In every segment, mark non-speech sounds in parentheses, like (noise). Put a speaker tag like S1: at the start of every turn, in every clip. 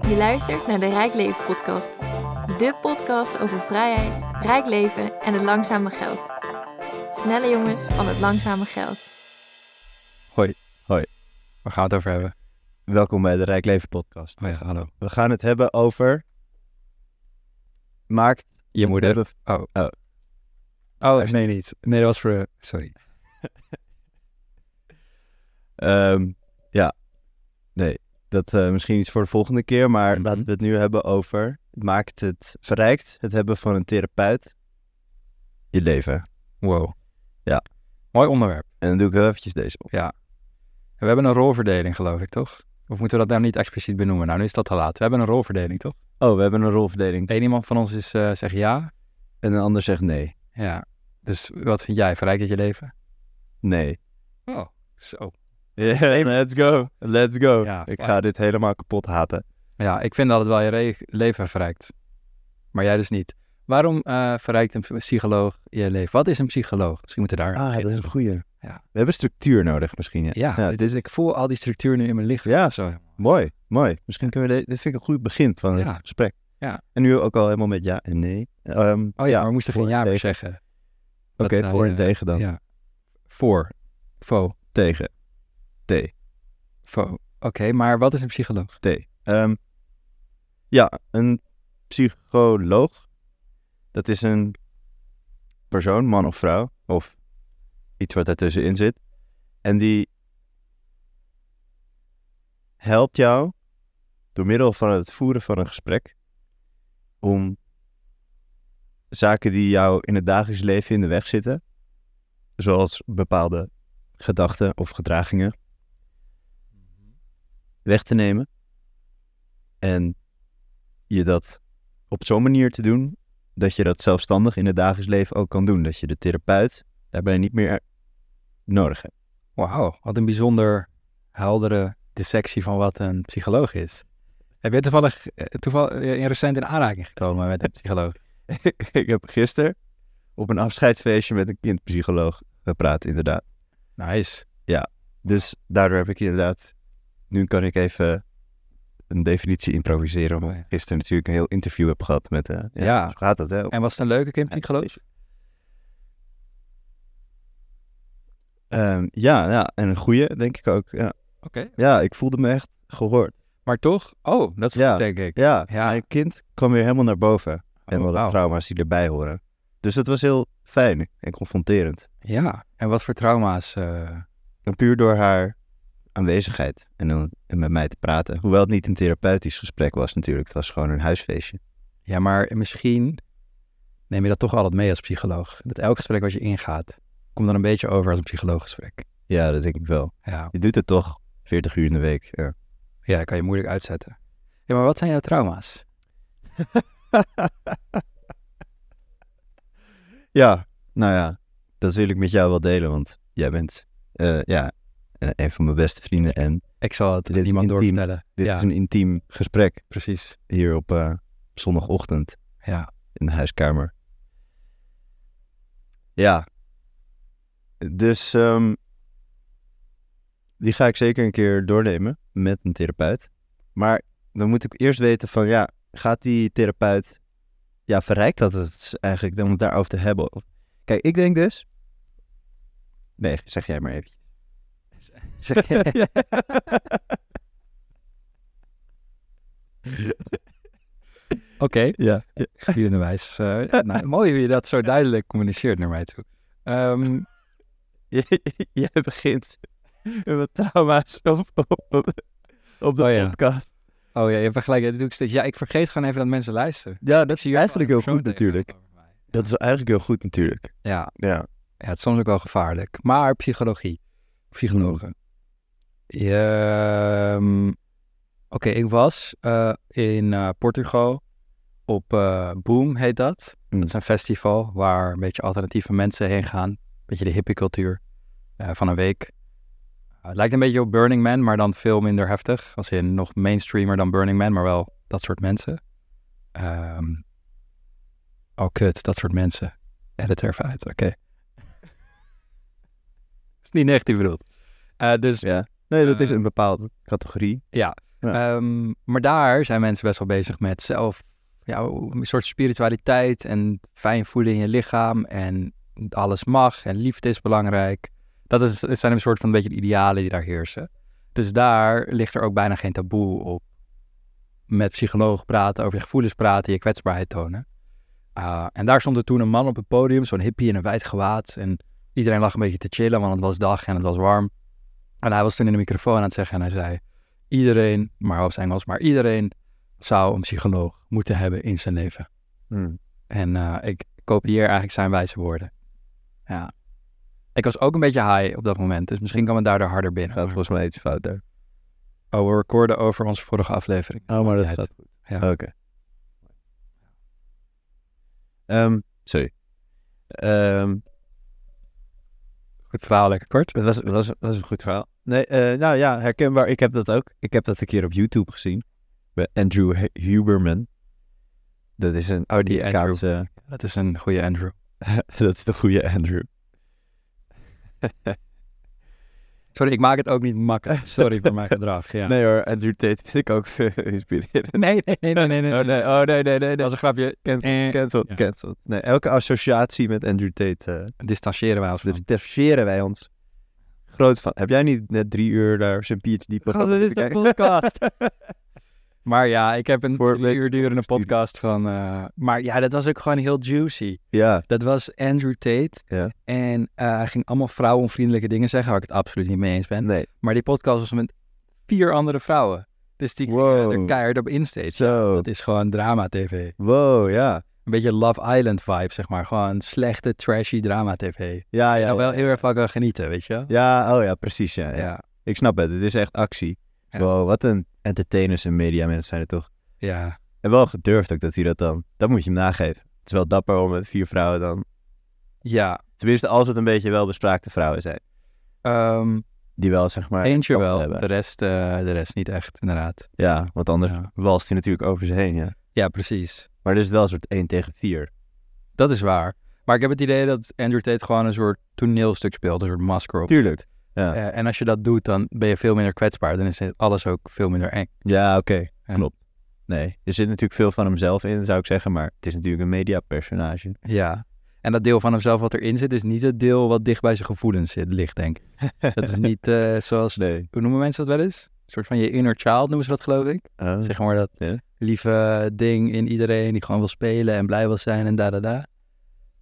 S1: Je luistert naar de Rijk Leven podcast. De podcast over vrijheid, rijk leven en het langzame geld. Snelle jongens van het langzame geld.
S2: Waar gaan we het over hebben?
S3: Welkom bij de Rijk Leven podcast.
S2: Oh ja, hallo.
S3: We gaan het hebben over... Maakt...
S2: Je moeder.
S3: hebben-
S2: Oh.
S3: Oh.
S2: Oh, nee, niet. Nee, dat was voor... Sorry.
S3: ehm, ja. Nee, dat eh, misschien iets voor de volgende keer, maar
S2: Mhm.
S3: laten we het nu hebben over... Maakt het... Verrijkt het hebben van een therapeut je leven.
S2: Wow.
S3: Ja.
S2: Mooi onderwerp.
S3: En dan doe ik heel eventjes deze op.
S2: En we hebben een rolverdeling, geloof ik, toch? Of moeten we dat nou niet expliciet benoemen? Nou, nu is dat te laat. We hebben een rolverdeling, toch?
S3: Oh, we hebben een rolverdeling.
S2: Eén iemand van ons is, eh zegt ja.
S3: En een ander zegt nee.
S2: Ja. Dus wat vind jij? Verrijkt het je leven?
S3: Nee.
S2: Oh, zo.
S3: Yeah, let's go. Let's go.
S2: Ja,
S3: ik
S2: fuck.
S3: ga dit helemaal kapot haten.
S2: Ja, ik vind dat het wel je re- leven verrijkt. Maar jij dus niet. Waarom eh, verrijkt een psycholoog je leven? Wat is een psycholoog? Misschien moeten we daar...
S3: Ah, dat is een goeie.
S2: Ja.
S3: We hebben structuur nodig misschien. Ja,
S2: Ja,
S3: ja
S2: dit-
S3: dit is
S2: ik voel al die structuur nu in mijn lichaam. Oh
S3: Ja.
S2: zo.
S3: Mooi, mooi. Misschien kunnen we dit, dit vind ik een goed begin van het
S2: Ja.
S3: gesprek.
S2: Ja.
S3: En nu ook al helemaal met ja en nee. Ehm,
S2: Oh ja, maar we moesten geen
S3: voor
S2: ja
S3: en
S2: meer
S3: tegen.
S2: zeggen. dat
S3: Oké,
S2: wij,
S3: voor en
S2: eh,
S3: tegen dan.
S2: ja. Voor. Faux.
S3: Tegen.
S2: Faux. Oké, maar wat is een psycholoog?
S3: Ehm, ja, een psycholoog. Dat is een persoon, man of vrouw, of iets wat daartussenin zit. En die helpt jou door middel van het voeren van een gesprek om zaken die jou in het dagelijks leven in de weg zitten, zoals bepaalde gedachten of gedragingen, weg te nemen. En je dat op zo'n manier te doen dat je dat zelfstandig in het dagelijks leven ook kan doen. Dat je de therapeut daarbij niet meer nodig hebt.
S2: Wauw, wat een bijzonder heldere dissectie van wat een psycholoog is. Heb je toevallig, eh, toeval, eh, in recent in aanraking gekomen met een psycholoog?
S3: (laughs) ik heb gisteren op een afscheidsfeestje met een kindpsycholoog gepraat, inderdaad.
S2: Nice.
S3: Dus daardoor heb ik inderdaad. Nu kan ik even een definitie improviseren. Omdat
S2: Oh ja.
S3: ik gisteren natuurlijk een heel interview heb gehad met. eh ja,
S2: Ja.
S3: Zo gaat dat, hè?
S2: En was het een leuke kindpsycholoog?
S3: Ehm, ja, ja, en een goede, denk ik ook. Ja.
S2: Oké.
S3: ja, ik voelde me echt gehoord.
S2: Maar toch? Oh, dat is
S3: Ja.
S2: goed, denk ik.
S3: Ja,
S2: Ja.
S3: mijn kind kwam weer helemaal naar boven. en
S2: Oh,
S3: wat
S2: wauw.
S3: trauma's die erbij horen. Dus dat was heel fijn en confronterend.
S2: Ja, en wat voor trauma's? eh,
S3: En puur door haar aanwezigheid en, dan- en met mij te praten. Hoewel het niet een therapeutisch gesprek was natuurlijk. Het was gewoon een huisfeestje.
S2: Ja, maar misschien neem je dat toch altijd mee als psycholoog. Dat elk gesprek wat je ingaat, komt dan een beetje over als een psycholooggesprek.
S3: Ja, dat denk ik wel.
S2: Ja,
S3: Je doet het toch 40 uur in de week. Ja.
S2: ja dat kan je moeilijk uitzetten. Ja, maar wat zijn jouw trauma's?
S3: ja, nou ja. Dat wil ik met jou wel delen. Want jij bent eh, ja, eh, een van mijn beste vrienden. En
S2: Ik zal het
S3: Dit
S2: aan
S3: is
S2: niemand
S3: intiem.
S2: doorvertellen.
S3: dit
S2: Ja,
S3: is een intiem gesprek
S2: precies.
S3: hier op eh, zondagochtend.
S2: Ja.
S3: in de huiskamer. Ja. Dus ehm, die ga ik zeker een keer doornemen met een therapeut. Maar dan moet ik eerst weten van ja, gaat die therapeut, ja, verrijkt dat het dus eigenlijk om het daarover te hebben? Of- Kijk, ik denk dus. Nee, zeg jij
S2: (laughs)
S3: maar eventjes.
S2: Oké,
S3: Ja.
S2: gebiedende wijs.
S3: (laughs)
S2: Eh, nou, mooi hoe je dat zo duidelijk communiceert naar mij toe. Ehm,
S3: (laughs) jij begint met trauma's op, op, op de
S2: Oh ja.
S3: podcast.
S2: oh ja, je vergelijkt, dat doe ik steeds. Ja, ik vergeet gewoon even dat mensen luisteren.
S3: Ja, dat
S2: zie je
S3: zie je eigenlijk heel
S2: gewoon
S3: goed
S2: een persoon
S3: natuurlijk.
S2: tegenover mij.
S3: Dat is eigenlijk heel goed natuurlijk.
S2: Ja,
S3: Ja.
S2: ja, het is soms ook wel gevaarlijk. Maar psychologie. Psychologen. Ja, ehm, Oké, ik was eh, in eh, Portugal op eh, Boom, heet dat.
S3: Mm.
S2: Dat is een festival waar een beetje alternatieve mensen heen gaan. Een beetje de hippie cultuur eh, van een week. Eh, het lijkt een beetje op Burning Man, maar dan veel minder heftig. Als in nog mainstreamer dan Burning Man, maar wel dat soort mensen. Ehm oh, kut, dat soort mensen. Edit er even uit, oké. is niet negatief bedoeld. Eh, dus
S3: Nee, dat is
S2: Eh.
S3: een bepaalde categorie.
S2: ja,
S3: Ja.
S2: Ehm, maar daar zijn mensen best wel bezig met zelf, ja, een soort spiritualiteit en fijn voelen in je lichaam en alles mag en liefde is belangrijk. Dat is, het zijn een soort van een beetje de idealen die daar heersen. Dus daar ligt er ook bijna geen taboe op. Met psychologen praten, over je gevoelens praten, je kwetsbaarheid tonen. Ah, en daar stond er toen een man op het podium, zo'n hippie in een wijd gewaad. En iedereen lag een beetje te chillen, want het was dag en het was warm. En hij was toen in de microfoon aan het zeggen en hij zei... Iedereen, maar op zijn Engels, maar iedereen zou een psycholoog moeten hebben in zijn leven.
S3: Hmm.
S2: En eh, ik kopieer eigenlijk zijn wijze woorden. Ja. Ik was ook een beetje high op dat moment, dus misschien kan het daardoor harder binnen.
S3: Gaat volgens mij iets fout daar.
S2: Oh, we recorden over onze vorige aflevering.
S3: Oh, maar dat
S2: Uit.
S3: gaat goed.
S2: Ja.
S3: Oké. Ehm, sorry. Ehm,
S2: Goed verhaal, lekker kort.
S3: het was, het was, het was een goed verhaal. Nee, eh, nou ja, herkenbaar. Ik heb dat ook. Ik heb dat een keer op YouTube gezien. Bij Andrew Hu- Huberman. Dat is een
S2: Oh, die
S3: Amerikaanse...
S2: Dat is een goede Andrew.
S3: (laughs) dat is de goede Andrew.
S2: Sorry, ik maak het ook niet (laughs) makkelijk. Sorry voor mijn gedrag. Ja.
S3: Nee hoor, Andrew Tate vind ik ook inspirerend.
S2: Nee, nee, nee, nee, nee. (laughs) nee.
S3: Oh nee, oh nee, nee, nee.
S2: Dat
S3: nee.
S2: is een grapje.
S3: Cancel,
S2: Eh,
S3: cancel,
S2: ja.
S3: cancel. Nee, elke associatie met Andrew Tate, eh
S2: Distancieren wij ons van.
S3: daar differentiëren wij ons groot van. Heb jij niet net drie uur daar zijn PhD
S2: God,
S3: programma
S2: dit is de
S3: bekeken?
S2: podcast. (laughs) maar ja, ik heb een
S3: Voor
S2: Voor
S3: het
S2: drie
S3: leuk-
S2: uur durende podcast van... eh, maar ja, dat was ook gewoon heel juicy.
S3: Ja,
S2: Dat was Andrew Tate.
S3: Ja.
S2: En eh, hij ging allemaal vrouwenonvriendelijke dingen zeggen... waar ik het absoluut niet mee eens ben.
S3: nee.
S2: Maar die podcast was met vier andere vrouwen. Dus die gingen er
S3: Wow.
S2: keihard op insteeds.
S3: Zo.
S2: Dat is gewoon drama-tv.
S3: Wow, ja.
S2: Een beetje Love Island-vibe, zeg maar. Gewoon slechte, trashy drama-tv.
S3: Ja, ja.
S2: Nou,
S3: Ja,
S2: wel heel erg van kan genieten, weet je?
S3: ja oh ja, precies. Ja, ja.
S2: Ja,
S3: Ik snap het. Het is echt actie.
S2: Ja.
S3: Wow, wat een entertainers en media mensen zijn er toch.
S2: ja.
S3: En wel gedurfd ook dat hij dat dan... Dat moet je hem nageven. Het is wel dapper om met vier vrouwen dan...
S2: Ja,
S3: Tenminste, als het een beetje welbespraakte vrouwen zijn.
S2: ehm,
S3: Die wel, zeg maar...
S2: eentje
S3: kanten
S2: wel,
S3: hebben.
S2: de rest, eh, de rest niet echt, inderdaad.
S3: Ja, want anders
S2: Ja.
S3: walst hij natuurlijk over ze heen, ja.
S2: Ja, precies.
S3: Maar dit is wel een soort 1 tegen 4.
S2: Dat is waar. Maar ik heb het idee dat Andrew Tate gewoon een soort toneelstuk speelt, een soort masker op.
S3: Tuurlijk. Ja,
S2: Eh, en als je dat doet, dan ben je veel minder kwetsbaar. Dan is alles ook veel minder eng.
S3: ja oké.
S2: Ja.
S3: Klopt. Nee, er zit natuurlijk veel van hemzelf in, zou ik zeggen. Maar het is natuurlijk een mediapersonage. (laughs)
S2: Ja. En dat deel van hemzelf wat erin zit, is niet het deel wat dicht bij zijn gevoelens zit, ligt, denk ik. Dat
S3: (laughs)
S2: is niet eh, zoals,
S3: Nee.
S2: hoe noemen mensen dat wel eens? Een soort van je inner child noemen ze dat, geloof ik.
S3: Oh,
S2: Zeg maar dat
S3: Ja.
S2: lieve ding in iedereen die gewoon wil spelen en blij wil zijn en da da da.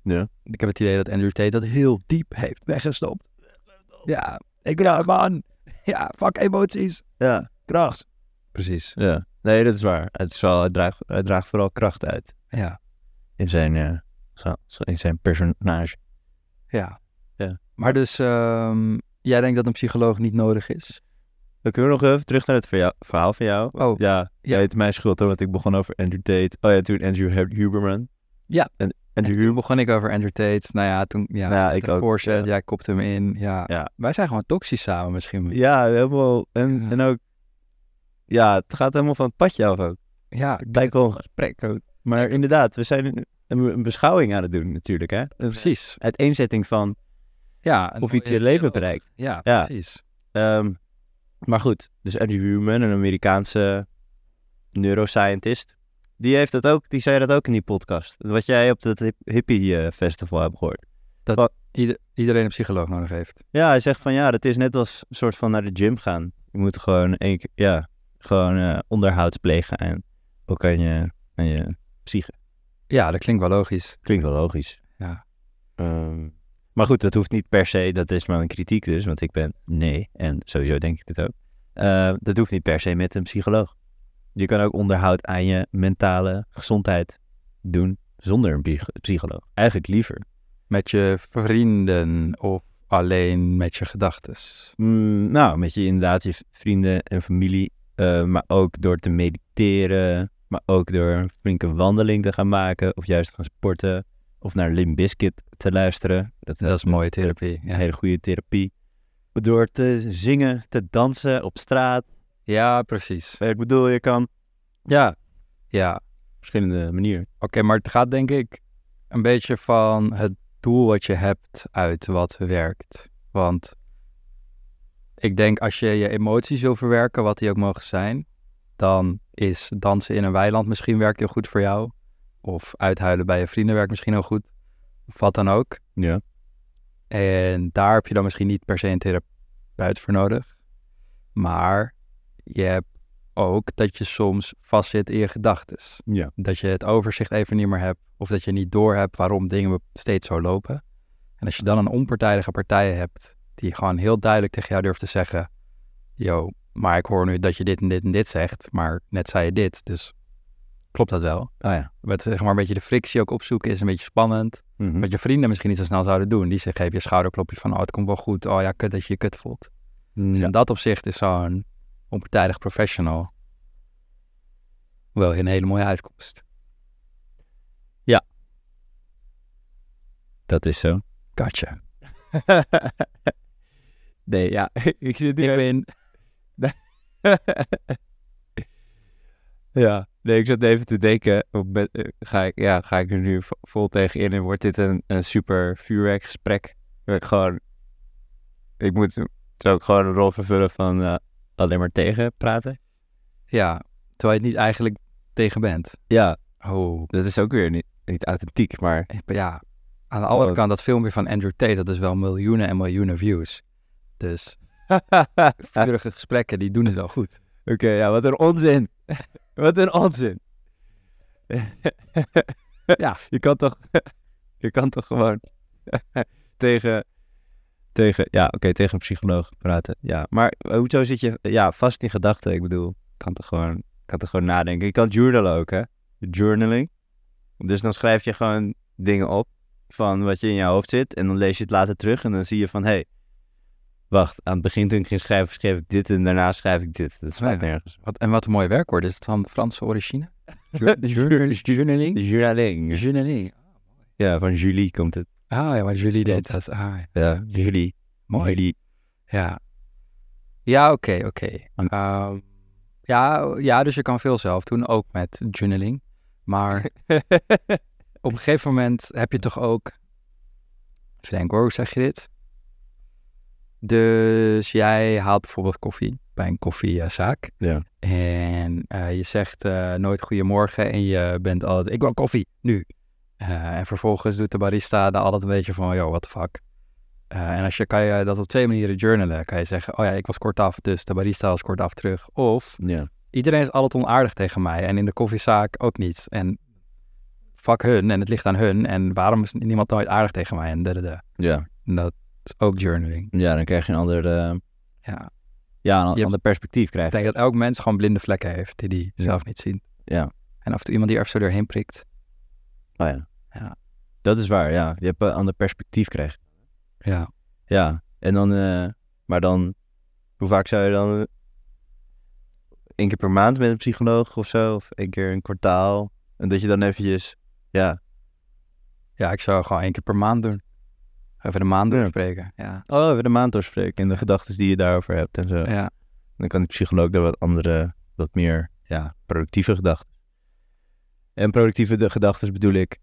S3: Ja.
S2: Ik heb het idee dat Andrew Tate dat heel diep heeft weggestopt. Ja, ik ben een man. Ja, fuck emoties.
S3: Ja, kracht.
S2: Precies.
S3: Ja. Nee, dat is waar. Het, is wel, het, draagt, het draagt vooral kracht uit
S2: Ja,
S3: in zijn, eh, zo- zo- in zijn personage.
S2: ja.
S3: Ja.
S2: Maar dus, ehm, jij denkt dat een psycholoog niet nodig is?
S3: Dan kunnen we nog even terug naar het verja- verhaal van jou.
S2: Oh,
S3: Ja,
S2: Ja.
S3: ja. het is mijn schuld hoor, want ik begon over Andrew Tate. Oh ja, toen Andrew Hu- Huberman.
S2: Ja.
S3: En
S2: en
S3: Andrew
S2: toen
S3: Huberman.
S2: begon ik over Andrew Tate. Nou ja, toen, ja,
S3: Nou ja,
S2: zat
S3: ik
S2: een
S3: ook,
S2: voorzet,
S3: ja.
S2: jij kopte hem in. Ja.
S3: Ja.
S2: Wij zijn gewoon toxisch samen misschien.
S3: Ja, helemaal. En,
S2: Ja.
S3: en ook... Ja, het gaat helemaal van het padje af ook.
S2: Ja,
S3: Het lijkt wel een gesprek ook. Maar inderdaad, we zijn een, een beschouwing aan het doen natuurlijk, hè? Een
S2: precies.
S3: uiteenzetting van
S2: Ja, en-
S3: of iets je leven bereikt.
S2: Ja,
S3: Ja.
S2: precies.
S3: Ehm, maar goed, dus Andrew Huberman, een Amerikaanse neuroscientist, die, heeft dat ook, die zei dat ook in die podcast. Wat jij op dat hip- hippie eh, festival hebt gehoord.
S2: Ieder- iedereen een psycholoog nodig heeft.
S3: Ja, hij zegt van ja, dat is net als een soort van naar de gym gaan. Je moet gewoon één keer, ja, gewoon eh, onderhoud plegen en ook aan je, aan je psyche.
S2: Ja, dat klinkt wel logisch.
S3: Klinkt wel logisch.
S2: Ja.
S3: Ehm, maar goed, dat hoeft niet per se, dat is maar een kritiek dus, want ik ben nee, en sowieso denk ik dit ook. Ehm, dat hoeft niet per se met een psycholoog. Je kan ook onderhoud aan je mentale gezondheid doen zonder een psych- psycholoog. Eigenlijk liever.
S2: Met je vrienden of alleen met je gedachten.
S3: Mm, nou, met je inderdaad je vrienden en familie. eh, maar ook door te mediteren. Maar ook door een flinke wandeling te gaan maken. Of juist te gaan sporten. Of naar Lim Biscuit te luisteren. Dat,
S2: Dat is mooie therapie.
S3: Een
S2: Ja,
S3: hele goede therapie. Door te zingen, te dansen op straat.
S2: ja precies.
S3: Ik bedoel, je kan... Ja,
S2: Ja,
S3: verschillende manieren.
S2: oké, maar het gaat denk ik een beetje van het doel wat je hebt uit wat werkt. Want ik denk als je je emoties wil verwerken, wat die ook mogen zijn, dan is dansen in een weiland misschien werkt heel goed voor jou. Of uithuilen bij je vrienden werkt misschien heel goed. Of wat dan ook.
S3: Ja.
S2: En daar heb je dan misschien niet per se een therapeut voor nodig. Maar je hebt ook dat je soms vastzit in je gedachten.
S3: Ja.
S2: Dat je het overzicht even niet meer hebt. Of dat je niet door hebt waarom dingen be- steeds zo lopen. En als je dan een onpartijdige partij hebt die gewoon heel duidelijk tegen jou durft te zeggen. Yo, maar ik hoor nu dat je dit en dit en dit zegt. Maar net zei je dit, dus klopt dat wel?
S3: Ah ja.
S2: Met zeg maar een beetje de frictie ook opzoeken is een beetje spannend.
S3: Mhm.
S2: Wat je vrienden misschien niet zo snel zouden doen. Die zeggen, geef je schouderklopje van, oh, het komt wel goed. Oh ja, kut dat je je kut voelt. Dus
S3: Ja.
S2: in dat opzicht is zo'n onpartijdig professional wel een hele mooie uitkomst.
S3: Dat is zo. (laughs)
S2: Katje.
S3: nee, ja. (laughs) ik zit
S2: Ik win.
S3: (laughs) Ja, nee, ik zat even te denken, op met- eh, ga, ik, ja, ga ik er nu vo- vol tegen in en wordt dit een, een super vuurwerkgesprek? Dat ik gewoon, ik moet, zou ik gewoon een rol vervullen van eh, alleen maar tegen praten?
S2: Ja, terwijl je het niet eigenlijk tegen bent.
S3: Ja,
S2: Oh,
S3: dat is ook weer niet, niet authentiek, maar (laughs)
S2: ik ben- ja. Aan de andere
S3: Oh.
S2: kant, dat filmpje van Andrew Tate, dat is wel miljoenen en miljoenen views. Dus
S3: oké,
S2: vurige gesprekken, die doen het wel (laughs) goed.
S3: ja, wat een onzin. (laughs) wat een onzin.
S2: Ja,
S3: Je kan toch, (laughs) je kan toch gewoon (laughs) tegen, tegen, ja, oké, tegen een psycholoog praten. Ja, maar eh, hoezo zit je ja, vast in gedachten? Ik bedoel, je kan toch gewoon, je kan toch gewoon nadenken. Je kan journalen ook, hè? Journaling. Dus dan schrijf je gewoon dingen op van wat je in je hoofd zit en dan lees je het later terug en dan zie je van, hé, hey, wacht, aan het begin toen ik ging schrijven, schreef ik dit en daarna schrijf ik dit. Dat slaat
S2: Ja.
S3: nergens.
S2: wat, en wat een mooi werkwoord. Is het van Franse (laughs) origine? Jour- jour- Journaling?
S3: Journaling.
S2: Journaling.
S3: Ja, van Julie komt het.
S2: Ah ja, maar jullie deed
S3: Klopt.
S2: dat. Ah, ja.
S3: Ja, Julie.
S2: mooi.
S3: Julie.
S2: Ja, ja oké, oké.
S3: Aan-
S2: Ehm, ja, ja, dus je kan veel zelf doen, ook met journaling. Maar op een gegeven moment heb je toch ook... Even denken hoor, hoe zeg je dit? Dus jij haalt bijvoorbeeld koffie bij een koffiezaak.
S3: Ja.
S2: En eh, je zegt eh, nooit goedemorgen en je bent altijd... Ik wil koffie, nu. Eh, en vervolgens doet de barista dan altijd een beetje van... Yo, what the fuck. Eh, en als je kan je dat op twee manieren journalen. Kan je zeggen, oh ja, ik was kortaf, dus de barista was kortaf terug. Of
S3: Ja.
S2: iedereen is altijd onaardig tegen mij en in de koffiezaak ook niet. En fuck hun en het ligt aan hun en waarom is niemand nooit aardig tegen mij en dadada.
S3: Ja.
S2: En dat is ook journaling.
S3: Ja, dan krijg je een ander, eh,
S2: Ja.
S3: ja, een
S2: Je-
S3: ander perspectief. Krijg.
S2: Ik
S3: je.
S2: denk dat elk mens gewoon blinde vlekken heeft die die
S3: Ja.
S2: zelf niet zien.
S3: Ja.
S2: En af en toe iemand die er even zo doorheen prikt.
S3: Oh, ja.
S2: Ja.
S3: Dat is waar, ja. Je hebt een ander perspectief krijg. je.
S2: Ja.
S3: Ja, en dan, eh, maar dan, hoe vaak zou je dan eh, één keer per maand met een psycholoog of zo, of één keer een kwartaal, en dat je dan eventjes, ja.
S2: ja, ik zou gewoon één keer per maand doen. Even de maand
S3: Ja.
S2: doorspreken. Ja.
S3: Oh, even de maand doorspreken en de gedachten die je daarover hebt en zo.
S2: ja.
S3: Dan kan de psycholoog daar wat andere, wat meer ja, productieve gedachten. En productieve de- gedachten bedoel ik,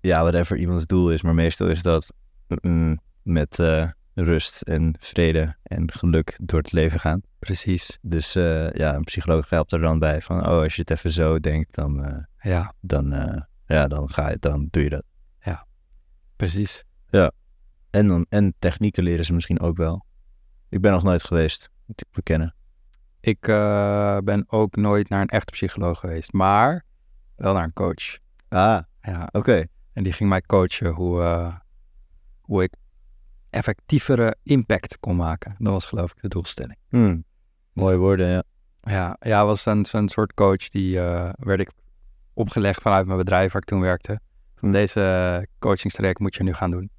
S3: ja, whatever iemands doel is, maar meestal is dat mm, met eh, rust en vrede en geluk door het leven gaan.
S2: Precies.
S3: Dus eh, ja, een psycholoog helpt er dan bij van, oh, als je het even zo denkt, dan, eh,
S2: Ja,
S3: dan, eh, ja, dan, ga je, dan doe je dat.
S2: precies.
S3: En, dan, en technieken leren ze misschien ook wel. Ik ben nog nooit geweest, moet ik bekennen.
S2: Ik eh, ben ook nooit naar een echte psycholoog geweest, maar wel naar een coach.
S3: Ah,
S2: Ja.
S3: oké.
S2: En die ging mij coachen hoe, eh, hoe ik effectievere impact kon maken. Dat was geloof ik de doelstelling.
S3: Hm. Mooie woorden, ja.
S2: Ja, ja was een, zo'n soort coach die eh, werd ik opgelegd vanuit mijn bedrijf waar ik toen werkte. Van
S3: Hm.
S2: deze coachingstraject moet je nu gaan doen.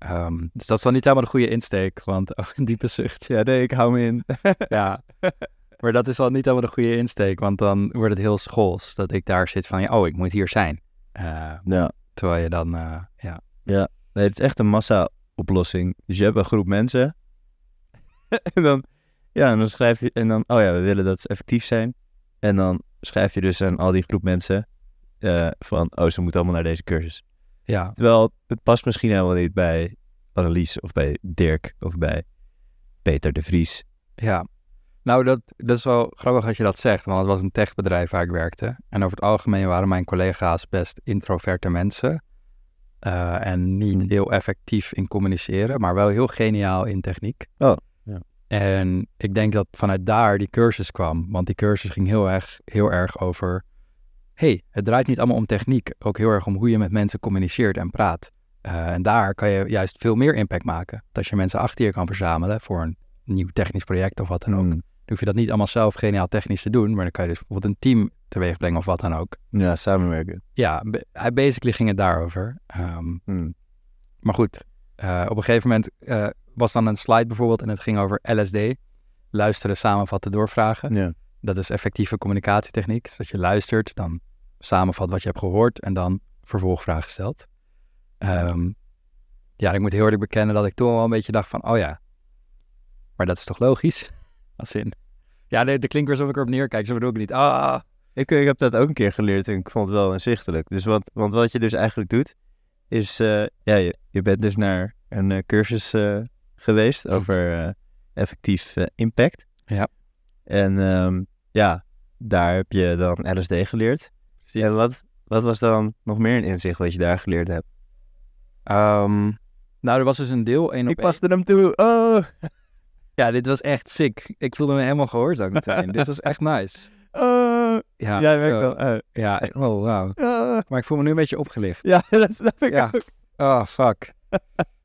S2: Ehm, dus dat is dan niet helemaal de goede insteek, want (laughs) oh, een diepe zucht.
S3: Ja, nee, ik hou me in. (laughs)
S2: Ja. (laughs) Maar dat is al niet helemaal de goede insteek, want dan wordt het heel schools dat ik daar zit van, ja, oh, ik moet hier zijn. Eh,
S3: Ja.
S2: terwijl je dan, eh, ja.
S3: Nee, het is echt een massa-oplossing. Dus je hebt een groep mensen. (laughs) en dan, ja, en dan schrijf je, en dan, oh ja, we willen dat ze effectief zijn. En dan schrijf je dus aan al die groep mensen eh, van, oh, ze moeten allemaal naar deze cursus.
S2: Ja,
S3: Terwijl het past misschien helemaal niet bij Annelies of bij Dirk of bij Peter de Vries.
S2: ja. Nou, dat, dat is wel grappig als je dat zegt, want het was een techbedrijf waar ik werkte. En over het algemeen waren mijn collega's best introverte mensen. eh, en niet
S3: Hmm.
S2: heel effectief in communiceren, maar wel heel geniaal in techniek.
S3: Oh, ja.
S2: En ik denk dat vanuit daar die cursus kwam. Want die cursus ging heel erg, heel erg over... hey, het draait niet allemaal om techniek. Ook heel erg om hoe je met mensen communiceert en praat. Eh, en daar kan je juist veel meer impact maken. Want Als je mensen achter je kan verzamelen voor een nieuw technisch project of wat dan ook.
S3: Mm.
S2: Dan hoef je dat niet allemaal zelf geniaal technisch te doen, maar dan kan je dus bijvoorbeeld een team teweeg brengen of wat dan ook.
S3: Ja, samenwerken.
S2: Ja, b- hij- basically ging het daarover. Ehm,
S3: Mm.
S2: maar goed, eh, op een gegeven moment eh, was dan een slide bijvoorbeeld en het ging over LSD. Luisteren, samenvatten, doorvragen.
S3: Ja.
S2: Dat is effectieve communicatietechniek. Dus dat je luistert, dan samenvat wat je hebt gehoord en dan vervolgvragen stelt. Ehm, ja, en ik moet heel eerlijk bekennen dat ik toen wel een beetje dacht van, oh ja, maar dat is toch logisch? (laughs) Als in, ja, nee, dat klinkt weer alsof ik erop neerkijk, zo bedoel ik niet. Ah,
S3: Ik, ik heb dat ook een keer geleerd en ik vond het wel inzichtelijk. Dus wat, want wat je dus eigenlijk doet, is... eh, ja, je, je bent dus naar een eh, cursus eh, geweest over eh, effectief eh, impact.
S2: Ja.
S3: En ehm, ja, daar heb je dan LSD geleerd.
S2: Precies.
S3: En wat, wat was dan nog meer een inzicht wat je daar geleerd hebt?
S2: ehm, nou, er was dus een deel één op
S3: Ik paste hem toe. Oh,
S2: één. Ja, dit was echt sick. Ik voelde me helemaal gehoord ook meteen. dit was echt nice.
S3: oh.
S2: Ja,
S3: Jij werkt
S2: zo.
S3: wel uit.
S2: Ja, oh, wauw.
S3: Oh.
S2: Maar ik voel me nu een beetje opgelicht.
S3: Ja, (laughs) dat snap ik
S2: Ja.
S3: ook.
S2: Oh, (laughs) fuck.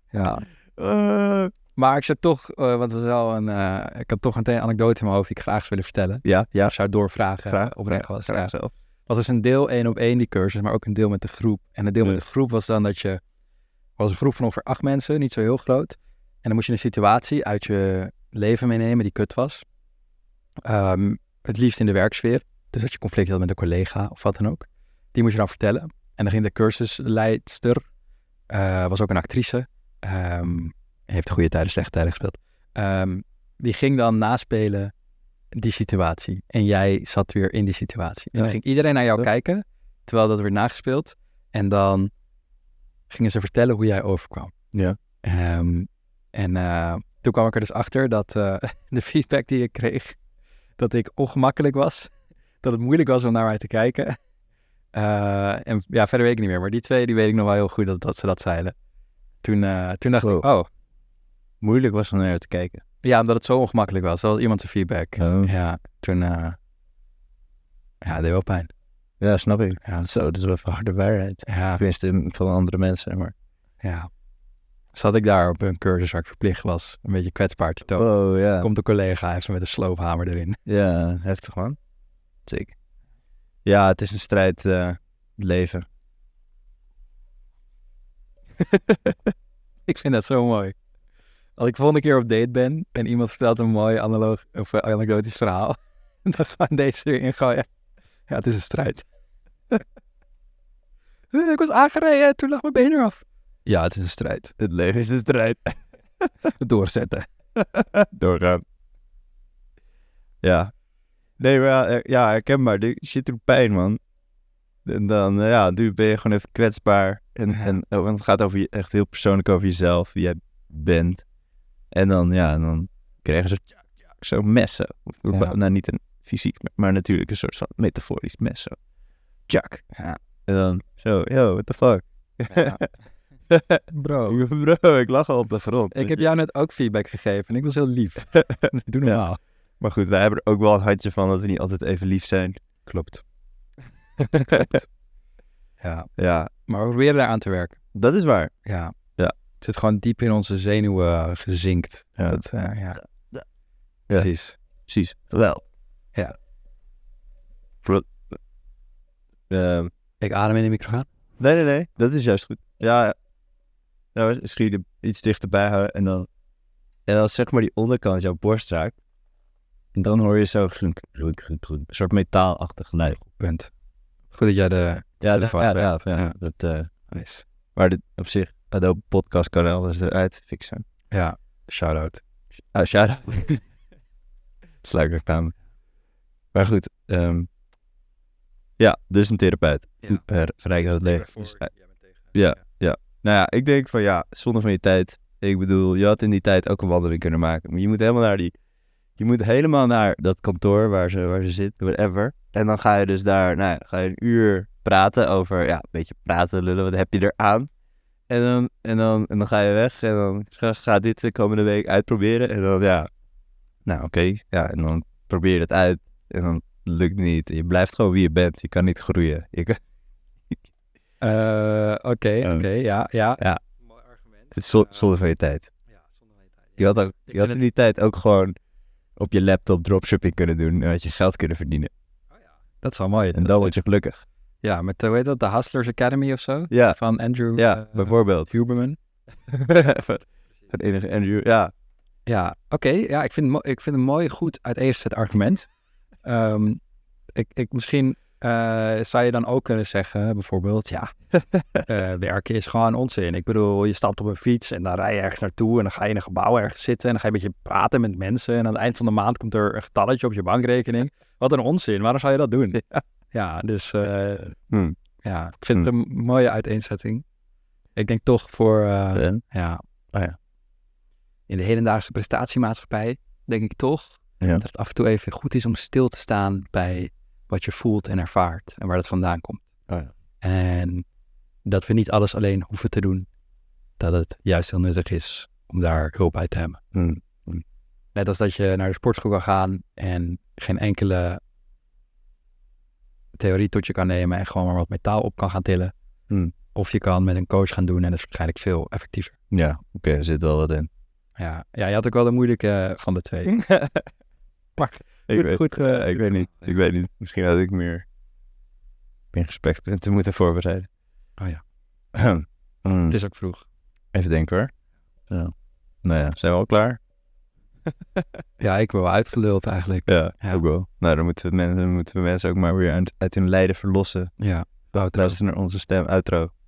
S2: Ja.
S3: Oh.
S2: Maar ik zou toch, eh, want het was wel een, eh, ik had toch meteen een anekdote in mijn hoofd die ik graag zou willen vertellen.
S3: ja, ja.
S2: Of zou doorvragen.
S3: Graag.
S2: Oprecht was.
S3: Graag
S2: Ja.
S3: zo.
S2: was dus een deel één op één die cursus, maar ook een deel met de groep. En het deel met de groep was dan dat je, was een groep van ongeveer acht mensen, niet zo heel groot. En dan moest je een situatie uit je leven meenemen die kut was. Ehm, het liefst in de werksfeer. Dus dat je conflict had met een collega of wat dan ook. Die moest je dan vertellen. En dan ging de cursusleidster, eh, was ook een actrice, ehm, heeft goede tijden, slechte tijden gespeeld. Ehm, die ging dan naspelen die situatie. En jij zat weer in die situatie. En dan
S3: Ja.
S2: ging iedereen naar jou
S3: Ja.
S2: kijken, terwijl dat werd nagespeeld. En dan gingen ze vertellen hoe jij overkwam.
S3: Ja.
S2: Ehm, en eh, toen kwam ik er dus achter dat eh, (laughs) de feedback die ik kreeg, dat ik ongemakkelijk was. Dat het moeilijk was om naar mij te kijken. Eh, en ja, verder weet ik niet meer. Maar die twee, die weet ik nog wel heel goed dat, dat ze dat zeiden. Toen, eh, toen dacht ik, oh,
S3: Moeilijk was om naar haar te kijken.
S2: ja, omdat het zo ongemakkelijk was. Dat was iemand zijn feedback.
S3: Oh.
S2: Ja, toen, eh, ja, het deed wel pijn.
S3: Ja, snap ik.
S2: Ja,
S3: Ah,
S2: dus,
S3: Zo, dat is wel even harde waarheid.
S2: ja,
S3: Tenminste, van andere mensen, maar...
S2: ja. Zat ik daar op een cursus waar ik verplicht was een beetje kwetsbaar te tonen.
S3: Oh, ja.
S2: Komt een collega, heeft ze met een sloophamer erin. (laughs)
S3: Ja, heftig man. Zeker. Ja, het is een strijd, eh, het leven.
S2: Ik vind dat zo mooi. Als ik volgende keer op date ben en iemand vertelt een mooi analoog, of eh, anekdotisch verhaal, (laughs) dan staan deze weer in gooien. Ja, het is een strijd. (laughs) ik was aangereden, toen lag mijn been eraf. Ja, het is een strijd. (laughs)
S3: Het leven is een strijd.
S2: Doorzetten.
S3: Doorgaan. Ja. Nee, maar ja, eh, ja, herkenbaar. Die shit doet pijn, man. En dan, eh, ja, nu ben je gewoon even kwetsbaar. En,
S2: Ja.
S3: en oh, want het gaat over je, echt heel persoonlijk over jezelf, wie jij bent. En dan, ja, en dan krijgen ze tjak, tjak, zo'n mes. zo. Of,
S2: Ja.
S3: Nou, niet een fysiek, maar, maar natuurlijk een soort van metaforisch mes. Zo. Tjak.
S2: Ja.
S3: En dan, zo, yo, what the fuck.
S2: Ja. Bro,
S3: (laughs) Bro, ik lag al op de grond.
S2: ik heb jou net ook feedback gegeven en ik was heel lief.
S3: (laughs)
S2: Doe normaal.
S3: Maar goed, wij hebben er ook wel een handje van dat we niet altijd even lief zijn.
S2: (laughs) Klopt. Klopt. Ja,
S3: Ja,
S2: maar we proberen daar aan te werken.
S3: dat is waar.
S2: Ja.
S3: Ja.
S2: Het zit gewoon diep in onze zenuwen eh, gezinkt.
S3: Ja.
S2: Dat, eh, ja.
S3: Ja.
S2: Precies.
S3: Precies. Wel.
S2: Ja.
S3: Pro- Ehm,
S2: Ik adem in de microfoon.
S3: nee, nee, nee. Dat is juist goed. Ja. Nou, misschien de- iets dichterbij houden en dan... En als zeg maar die onderkant jouw borst raakt, dan hoor je zo groen, groen, groen, groen. Een soort metaalachtig geluid.
S2: Punt. Goed dat jij de...
S3: Ja, dat,
S2: Telefoon
S3: ja,
S2: erbij.
S3: ja, ja,
S2: Ja.
S3: dat... eh,
S2: Nice.
S3: maar dit, op zich, Adobe Podcast kan alles eruit fixen.
S2: Ja, shout-out.
S3: Ah, (laughs) shout-out. Sluikreclame. Maar goed, ehm, ja, dus een eh, therapeut.
S2: Ja.
S3: Ja. Verrijkt het leven. Dus, eh,
S2: Ja.
S3: nou ja, ik denk van ja, zonde van je tijd. Ik bedoel, je had in die tijd ook een wandeling kunnen maken. Maar je moet helemaal naar die Je moet helemaal naar dat kantoor waar ze, waar ze zit, whatever. En dan ga je dus daar, nou ja, dan ga je een uur praten over, ja, een beetje praten, lullen, wat heb je er aan? En dan, en dan, en dan ga je weg en dan ga, ga dit de komende week uitproberen. En dan, ja, nou oké, ja, en dan probeer je het uit en dan lukt het niet. Je blijft gewoon wie je bent, je kan niet groeien. Je kan-
S2: Eh, Oké, oké,
S3: Ja.
S2: ja, ja.
S3: Ja.
S2: Mooi argument.
S3: het is (laughs) zo-
S2: Eh,
S3: zonde van je tijd.
S2: Ja, zonder mijn tijd.
S3: Je had, ook,
S2: Ik
S3: je had
S2: vind
S3: in die tijd ook gewoon op je laptop dropshipping kunnen doen en had je geld kunnen verdienen.
S2: Oh ja, Dat is wel mooi.
S3: En dan word je gelukkig.
S2: Ja, met, eh, hoe heet dat, de Hustlers Academy of zo?
S3: Ja,
S2: Van Andrew
S3: ja,
S2: eh,
S3: bijvoorbeeld. (laughs)
S2: Huberman.
S3: Het e- enige Andrew, ja.
S2: Ja, oké. ja, ik vind, het mo- ik vind het mooi, goed uiteengezet argument. Ehm, ik, ik, misschien eh, zou je dan ook kunnen zeggen, bijvoorbeeld,
S3: (laughs)
S2: ja, eh, werken is gewoon onzin. Ik bedoel, je stapt op een fiets en dan rij je ergens naartoe en dan ga je in een gebouw ergens zitten en dan ga je een beetje praten met mensen. En aan het eind van de maand komt er een getalletje op je bankrekening. Wat een onzin, waarom zou je dat
S3: (laughs)
S2: doen? Ja, dus eh,
S3: Hmm.
S2: ja, ik vind het een mooie uiteenzetting. Ik denk toch voor... eh,
S3: En?
S2: ja.
S3: Oh ja.
S2: In de hedendaagse prestatiemaatschappij denk ik toch
S3: Ja.
S2: dat het af en toe even goed is om stil te staan bij wat je voelt en ervaart en waar dat vandaan komt.
S3: Oh ja.
S2: En dat we niet alles alleen hoeven te doen. Dat het juist heel nuttig is om daar hulp bij te hebben.
S3: Hmm.
S2: Net als dat je naar de sportschool kan gaan en geen enkele theorie tot je kan nemen en gewoon maar wat metaal op kan gaan tillen.
S3: Hmm.
S2: Of je kan met een coach gaan doen en dat is waarschijnlijk veel effectiever.
S3: Ja, oké, er zit wel wat
S2: (laughs)
S3: in.
S2: Ja, ja, je had ook wel de moeilijke eh, van de
S3: (laughs)
S2: twee. Maar
S3: ik
S2: goed-
S3: weet,
S2: goed, eh,
S3: ik weet niet. Ik weet niet. Misschien had ik meer meer gesprekspunten moeten voorbereiden.
S2: Oh ja.
S3: Ahem. (clears throat) Hmm.
S2: het is ook vroeg.
S3: Even denken hoor. Zo. Nou ja, zijn we al klaar?
S2: Ja, ik ben wel uitgeluld eigenlijk.
S3: Ja,
S2: Ja.
S3: ook wel. Nou, dan moeten we, mensen, dan moeten we mensen ook maar weer uit, uit hun lijden verlossen.
S2: Ja, Wouter.
S3: Luisteren naar onze stem, outro.